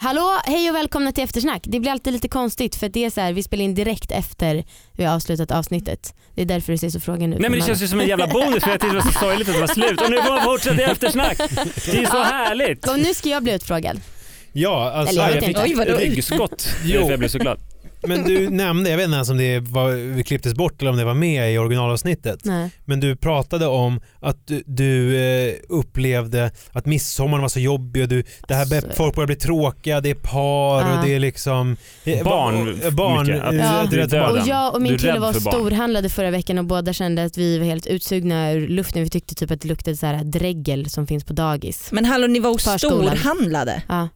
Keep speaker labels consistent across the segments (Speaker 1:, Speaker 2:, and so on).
Speaker 1: Hallå, hej och välkomna till eftersnack. Det blir alltid lite konstigt för att det är så här, vi spelar in direkt efter vi har avslutat avsnittet. Det är därför det ser så frågan ut.
Speaker 2: Nej men det känns ju som en jävla bonus för jag tyckte det var så sorgligt att det var slut och nu får man fortsätta i eftersnack. Det är ju så härligt.
Speaker 1: Och nu ska jag bli utfrågad.
Speaker 3: Ja, alltså,
Speaker 1: Eller jag vet
Speaker 3: fick-
Speaker 1: inte.
Speaker 4: Oj, vad
Speaker 2: Ett
Speaker 4: roligt.
Speaker 2: ryggskott.
Speaker 3: Jo.
Speaker 2: Jo. Jag blev så glad.
Speaker 3: men du nämnde, jag vet inte ens om det var, klipptes bort eller om det var med i originalavsnittet,
Speaker 1: Nej.
Speaker 3: men du pratade om att du, du eh, upplevde att midsommar var så jobbig och du, det här
Speaker 1: Så-
Speaker 3: med folk börjar bli tråkiga, det är par
Speaker 1: Alltså. Ja.
Speaker 3: och det är liksom... eh,
Speaker 2: Barn,
Speaker 3: va- barn
Speaker 2: mycket. Att
Speaker 3: eh,
Speaker 1: Ja.
Speaker 3: du vet,
Speaker 2: du är
Speaker 3: barn.
Speaker 1: Och
Speaker 2: den.
Speaker 1: jag och
Speaker 2: Du
Speaker 1: min
Speaker 2: är
Speaker 1: kille
Speaker 2: rädd
Speaker 1: var
Speaker 2: för barn.
Speaker 1: storhandlade förra veckan och båda kände att vi var helt utsugna ur luften. Vi tyckte typ att det luktade så här dregel som finns på dagis.
Speaker 4: Men hallå ni var och
Speaker 1: Förskolan.
Speaker 4: storhandlade.
Speaker 1: Ja.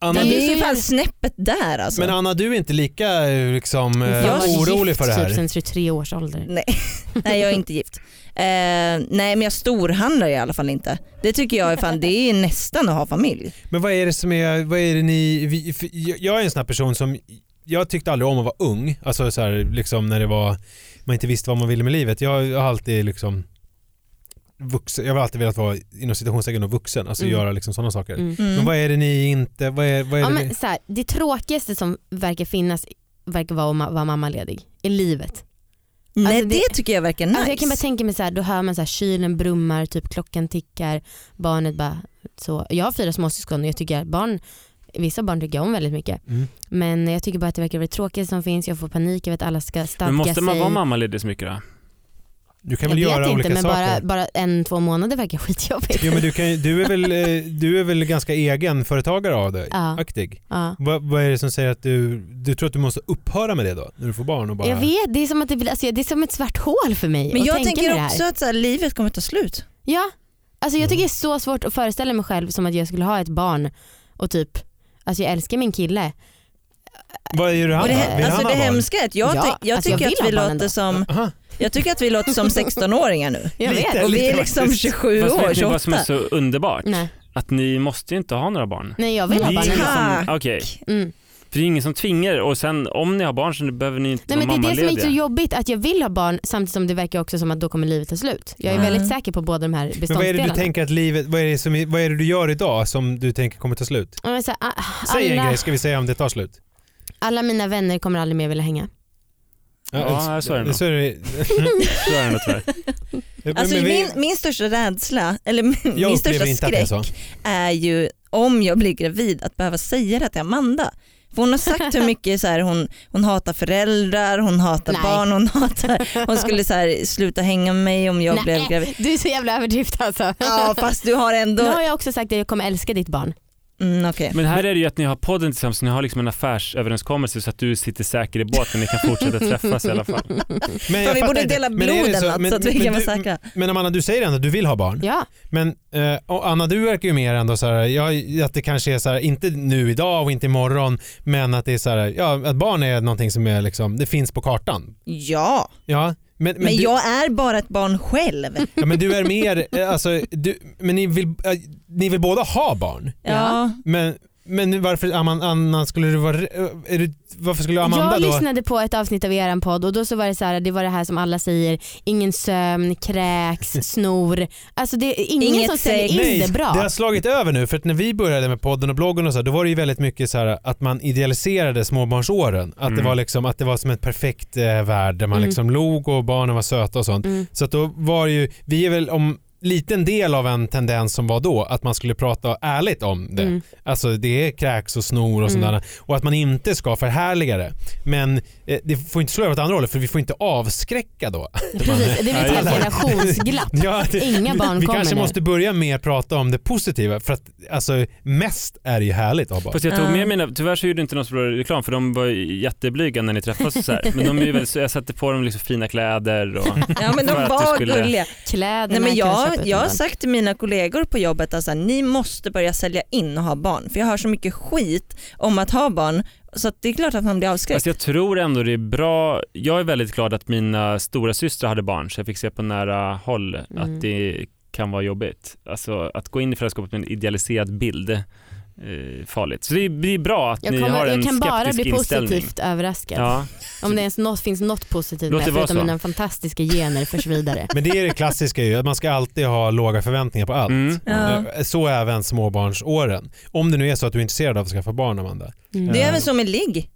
Speaker 3: Anna,
Speaker 4: Det
Speaker 1: Men
Speaker 3: du,
Speaker 1: det
Speaker 4: är
Speaker 1: är
Speaker 4: ju
Speaker 1: ju-
Speaker 4: fan snäppet där alltså.
Speaker 3: men Anna, du är inte lika eh, liksom, eh,
Speaker 1: Jag var
Speaker 3: orolig
Speaker 1: gift
Speaker 3: för det här?
Speaker 1: Typ sen 23 års ålder.
Speaker 4: Nej. nej jag är inte gift. Eh, nej men jag storhandlar i alla fall inte. Det tycker jag är fan, det är nästan att ha familj.
Speaker 3: Men vad är det som är, vad är det ni, vi, för jag- jag är en sån här person som, jag tyckte aldrig om att vara ung, alltså så här, liksom när det var, man inte visste vad man ville med livet. Jag har alltid liksom vuxen, jag har alltid velat vara inom citationstecken och vuxen, alltså
Speaker 1: Mm.
Speaker 3: göra liksom sådana saker.
Speaker 1: Mm.
Speaker 3: Men vad är det ni inte, vad är, vad är
Speaker 1: Ja,
Speaker 3: det
Speaker 1: men
Speaker 3: ni,
Speaker 1: så här, det tråkigaste som verkar finnas verkar vara att ma- vara mammaledig i livet.
Speaker 4: nej
Speaker 1: Alltså,
Speaker 4: det,
Speaker 1: det-
Speaker 4: tycker jag verkar nice.
Speaker 1: Alltså jag kan bara tänka mig så här, då hör man så här, kylen brummar, typ klockan tickar, barnet bara så. Jag har fyra småsyskon och jag tycker att barn, vissa barn tycker jag om väldigt mycket.
Speaker 3: Mm.
Speaker 1: Men jag tycker bara att det verkar vara det tråkigaste som finns, jag får panik över att alla ska stadga
Speaker 2: Men måste man
Speaker 1: sig.
Speaker 2: vara mammaledig så mycket då?
Speaker 3: du kan
Speaker 1: jag
Speaker 3: väl
Speaker 1: vet
Speaker 3: göra
Speaker 1: inte
Speaker 3: olika
Speaker 1: men bara,
Speaker 3: saker?
Speaker 1: bara en, två månader verkar skitjobbigt.
Speaker 3: Jo, men du, kan, ju- du, är väl, eh, du är väl ganska egen företagare av dig?
Speaker 1: Ja.
Speaker 3: Aktig.
Speaker 1: Ja.
Speaker 3: Vad, vad är det som säger att du, du tror att du måste upphöra med det då? När du får barn och bara...
Speaker 1: Jag vet, det är, som att det, blir- alltså, det är som ett svart hål för mig
Speaker 4: men
Speaker 1: att
Speaker 4: jag
Speaker 1: tänka mig det
Speaker 4: tänker
Speaker 1: här.
Speaker 4: också att så här, livet kommer ta slut.
Speaker 1: Ja, alltså jag
Speaker 3: Mm.
Speaker 1: tycker det är så svårt att föreställa mig själv som att jag skulle ha ett barn och typ, alltså jag älskar min kille.
Speaker 3: Vad är det han
Speaker 4: Och det,
Speaker 3: då? Vill
Speaker 4: alltså,
Speaker 3: han
Speaker 4: det
Speaker 3: ha barn?
Speaker 4: hemska är att jag,
Speaker 1: Ja,
Speaker 4: ty- jag
Speaker 1: alltså, jag
Speaker 4: tycker
Speaker 1: vill
Speaker 4: att vi
Speaker 1: ha barn
Speaker 4: låter
Speaker 1: ändå.
Speaker 4: som,
Speaker 3: Aha.
Speaker 4: jag tycker att vi låter som 16-åringar nu.
Speaker 1: Jag
Speaker 3: Lite.
Speaker 1: vet.
Speaker 4: Och vi är liksom
Speaker 3: faktiskt.
Speaker 4: 27
Speaker 2: Fast
Speaker 4: år,
Speaker 2: vet ni vad som
Speaker 4: 28.
Speaker 2: är så underbart?
Speaker 1: Nej,
Speaker 2: Att ni måste ju inte ha några barn.
Speaker 1: nej jag vill ha barn. ändå.
Speaker 4: Tack.
Speaker 2: Okej,
Speaker 1: Mm.
Speaker 2: för det är ingen som tvingar er. och sen om ni har barn så behöver ni inte
Speaker 1: Nej,
Speaker 2: vara
Speaker 1: men det är det som
Speaker 2: mammalediga.
Speaker 1: är så jobbigt, att jag vill ha barn samtidigt som det verkar också som att då kommer livet ta slut. Jag är
Speaker 2: Mm.
Speaker 1: väldigt säker på båda de här
Speaker 3: Men vad är det
Speaker 1: beståndsdelarna.
Speaker 3: du tänker att livet, vad är det, som, vad är det du gör idag som du tänker kommer ta slut?
Speaker 1: Ja, men så här, ah,
Speaker 3: Säg en
Speaker 1: alla,
Speaker 3: grej ska vi säga om det tar slut.
Speaker 1: alla mina vänner kommer aldrig mer vilja hänga.
Speaker 2: Ja, så är det nog.
Speaker 3: Så är det.
Speaker 2: Så är det nog tyvärr.
Speaker 3: Men-
Speaker 4: Alltså,
Speaker 3: men vi-
Speaker 4: min, min största rädsla, eller min,
Speaker 3: jag
Speaker 4: min
Speaker 3: upplever
Speaker 4: största
Speaker 3: inte att det är
Speaker 4: skräck
Speaker 3: så.
Speaker 4: är ju om jag blir gravid att behöva säga det till Amanda. För hon har sagt hur mycket så här, hon, hon hatar föräldrar, hon hatar
Speaker 1: Nej.
Speaker 4: barn, hon hatar, hon skulle så här, sluta hänga med mig om jag
Speaker 1: Nej,
Speaker 4: blev gravid.
Speaker 1: Du är så jävla överdrift alltså.
Speaker 4: Ja fast du har ändå,
Speaker 1: Nu har jag också sagt att jag kommer älska ditt barn.
Speaker 4: mm, okej.
Speaker 2: Men här är det ju att ni har podden tillsammans, ni har liksom en affärsöverenskommelse så att du sitter säker i båten, ni kan fortsätta träffas i alla fall.
Speaker 3: Men
Speaker 4: Fan,
Speaker 3: jag
Speaker 4: vi
Speaker 3: fattar
Speaker 4: borde
Speaker 3: inte.
Speaker 4: dela
Speaker 3: Men är det
Speaker 4: blod eller något så att vi kan vara
Speaker 3: du-
Speaker 4: säkra.
Speaker 3: Men Amanda du säger ändå att du vill ha barn.
Speaker 1: Ja.
Speaker 3: Men eh, och Anna du verkar ju mer ändå så här, ja, att det kanske är så här, inte nu idag och inte imorgon men att det är så här, ja, att barn är någonting som är liksom, det finns på kartan.
Speaker 4: Ja,
Speaker 3: Ja, men,
Speaker 4: men,
Speaker 3: men du,
Speaker 4: jag är bara ett barn själv.
Speaker 3: ja, men du är mer, eh, alltså, du, men ni vill, eh, ni vill båda ha barn?
Speaker 4: Ja.
Speaker 3: Men, men varför Amanda, Anna, skulle du vara, eh, är du, varför skulle Amanda
Speaker 1: jag
Speaker 3: då?
Speaker 1: lyssnade på ett avsnitt av eran podd och då så var det så här, det var det här som alla säger, ingen sömn, kräks, snor. Alltså det är ingen
Speaker 4: Inget
Speaker 1: som säljer in
Speaker 4: sex.
Speaker 3: Nej,
Speaker 1: det bra.
Speaker 3: det har slagit över nu för att när vi började med podden och bloggen och så här, då var det ju väldigt mycket så här att man idealiserade småbarnsåren. Att,
Speaker 2: Mm.
Speaker 3: det var liksom, att det var som en perfekt eh, värld där man
Speaker 1: Mm.
Speaker 3: liksom log och barnen var söta och sånt.
Speaker 1: Mm.
Speaker 3: Så att då var det ju, vi är väl om liten del av en tendens som var då att man skulle prata ärligt om det.
Speaker 1: Mm.
Speaker 3: Alltså det är kräks och snor och
Speaker 1: Mm.
Speaker 3: sådana och att man inte ska förhärliga det. Men eh, det får inte slå över åt andra hållet för vi får inte avskräcka då.
Speaker 1: Precis, det blir ett helt generationsglapp.
Speaker 3: Ja, det-
Speaker 1: Inga barn
Speaker 3: vi
Speaker 1: kommer
Speaker 3: kanske
Speaker 1: nu.
Speaker 3: måste börja med att prata om det positiva för att alltså, mest är det ju härligt att ha barn.
Speaker 2: Fast jag tog
Speaker 4: Ja.
Speaker 2: med mina, tyvärr så gjorde inte någon så bra reklam för de var ju jätteblyga när ni träffades och så här. Men de är ju väldigt, så jag satte på dem liksom fina kläder och
Speaker 4: ja men de
Speaker 2: För att du
Speaker 4: var
Speaker 2: skulle-
Speaker 4: gulliga.
Speaker 1: Kläderna
Speaker 4: Nej, men
Speaker 1: kan köpa
Speaker 4: jag,
Speaker 1: utan
Speaker 4: jag har
Speaker 1: barn.
Speaker 4: sagt till mina kollegor på jobbet att alltså, ni måste börja sälja in och ha barn för jag hör så mycket skit om att ha barn så att det är klart att man blir avskräckt.
Speaker 2: Fast Alltså, jag tror ändå det är bra. Jag är väldigt glad att mina stora systrar hade barn så jag fick se på nära håll
Speaker 1: Mm.
Speaker 2: att det kan vara jobbigt. Alltså att gå in i föräldraskapet med en idealiserad bild eh, farligt. Så det är, det är bra att
Speaker 1: Jag,
Speaker 2: ni har
Speaker 1: kommer,
Speaker 2: en
Speaker 1: jag kan bara
Speaker 2: skeptisk
Speaker 1: bli
Speaker 2: inställning.
Speaker 1: positivt överraskad.
Speaker 2: Ja.
Speaker 1: Om det ens något, finns något positivt
Speaker 2: Låt
Speaker 1: med
Speaker 2: det vara
Speaker 1: förutom
Speaker 2: så.
Speaker 1: mina fantastiska gener förs vidare.
Speaker 3: Men det är det klassiska ju, att man ska alltid ha låga förväntningar på allt. Eh,
Speaker 2: Mm.
Speaker 4: Ja.
Speaker 3: Så även småbarnsåren. Om det nu är så att du är intresserad av att skaffa barn Amanda.
Speaker 1: Mm.
Speaker 4: Det är
Speaker 3: Ja.
Speaker 4: även så med ligg.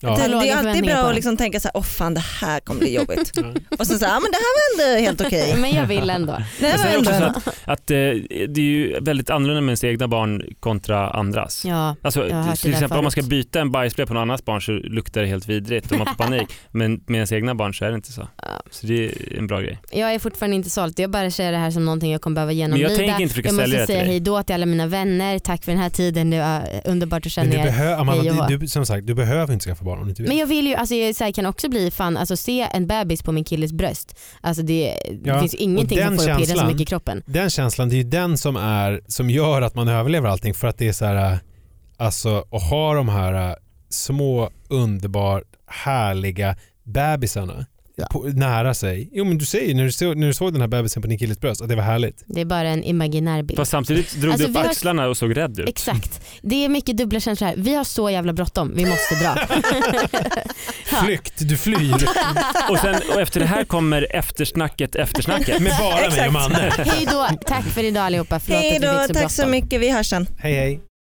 Speaker 3: Ja.
Speaker 4: Det,
Speaker 1: Jag har
Speaker 4: det
Speaker 1: låga
Speaker 4: är alltid
Speaker 1: förväntningar
Speaker 4: bra
Speaker 1: på
Speaker 4: att
Speaker 1: det.
Speaker 4: liksom tänka så här, åh fan det här kommer bli jobbigt.
Speaker 3: Ja.
Speaker 4: Och sen så här, ah, men det här var ändå helt okej.
Speaker 1: Men jag vill ändå.
Speaker 4: Det
Speaker 2: Men
Speaker 4: här
Speaker 2: sen är
Speaker 4: var
Speaker 2: det
Speaker 4: ändå
Speaker 2: också så
Speaker 4: en-
Speaker 2: att, att eh, det är ju väldigt annorlunda med ens egna barn kontra andras.
Speaker 1: Ja,
Speaker 2: Alltså,
Speaker 1: Jag har hört det
Speaker 2: till
Speaker 1: där
Speaker 2: exempel om man ska
Speaker 1: förut.
Speaker 2: byta en bajsblöja på någon annans barn så luktar det helt vidrigt och man får panik. Men med ens egna barn så är det inte så.
Speaker 1: Ja.
Speaker 2: Så det är en bra grej.
Speaker 1: jag är fortfarande inte såld. Jag bara ser det här som någonting jag kommer behöva
Speaker 2: Men
Speaker 1: genomlida.
Speaker 2: jag tänker inte försöka
Speaker 1: jag
Speaker 2: sälja
Speaker 1: måste
Speaker 2: det till
Speaker 1: säga
Speaker 2: dig.
Speaker 1: hej då till alla mina vänner. Tack för den här tiden. Det var eh, underbart att
Speaker 3: Men
Speaker 1: känna
Speaker 3: du,
Speaker 1: er.
Speaker 3: behö- Amanda,
Speaker 1: Hej
Speaker 3: du,
Speaker 1: och
Speaker 3: du, som sagt, du behöver inte skaffa barn om du inte vill.
Speaker 1: Men jag vill ju, alltså jag så här, kan också bli fan, alltså se en bebis på min killes bröst. Alltså det,
Speaker 3: Ja,
Speaker 1: det finns ingenting
Speaker 3: och
Speaker 1: som
Speaker 3: den
Speaker 1: får att pirra så
Speaker 3: känslan-
Speaker 1: mycket i kroppen.
Speaker 3: Den känslan, det är ju den som, är, som gör att man överlever allting för att det är så här, äh, alltså att ha de här äh, små underbart härliga bebisarna
Speaker 1: Ja.
Speaker 3: på, nära sig. Jo men du säger ju när du, såg, när du såg den här bebisen på din killes bröst att det var härligt.
Speaker 1: Det är bara en imaginär bild.
Speaker 2: Fast samtidigt drog
Speaker 1: Alltså,
Speaker 2: du upp
Speaker 1: vi har-
Speaker 2: axlarna och såg rädd ut.
Speaker 1: Exakt, det är mycket dubbla känslor här. Vi har så jävla bråttom, vi måste dra. Ja.
Speaker 3: Flykt, du flyr.
Speaker 2: Och, sen, och efter det här kommer eftersnacket, eftersnacket.
Speaker 3: Med bara mig
Speaker 4: Exakt.
Speaker 3: och Manne.
Speaker 1: Hej då, tack för idag allihopa. Förlåt
Speaker 4: Hej
Speaker 1: att vi
Speaker 4: då,
Speaker 1: fick så
Speaker 4: tack så
Speaker 1: bråttom.
Speaker 4: mycket, vi hörs sen.
Speaker 3: Hej hej.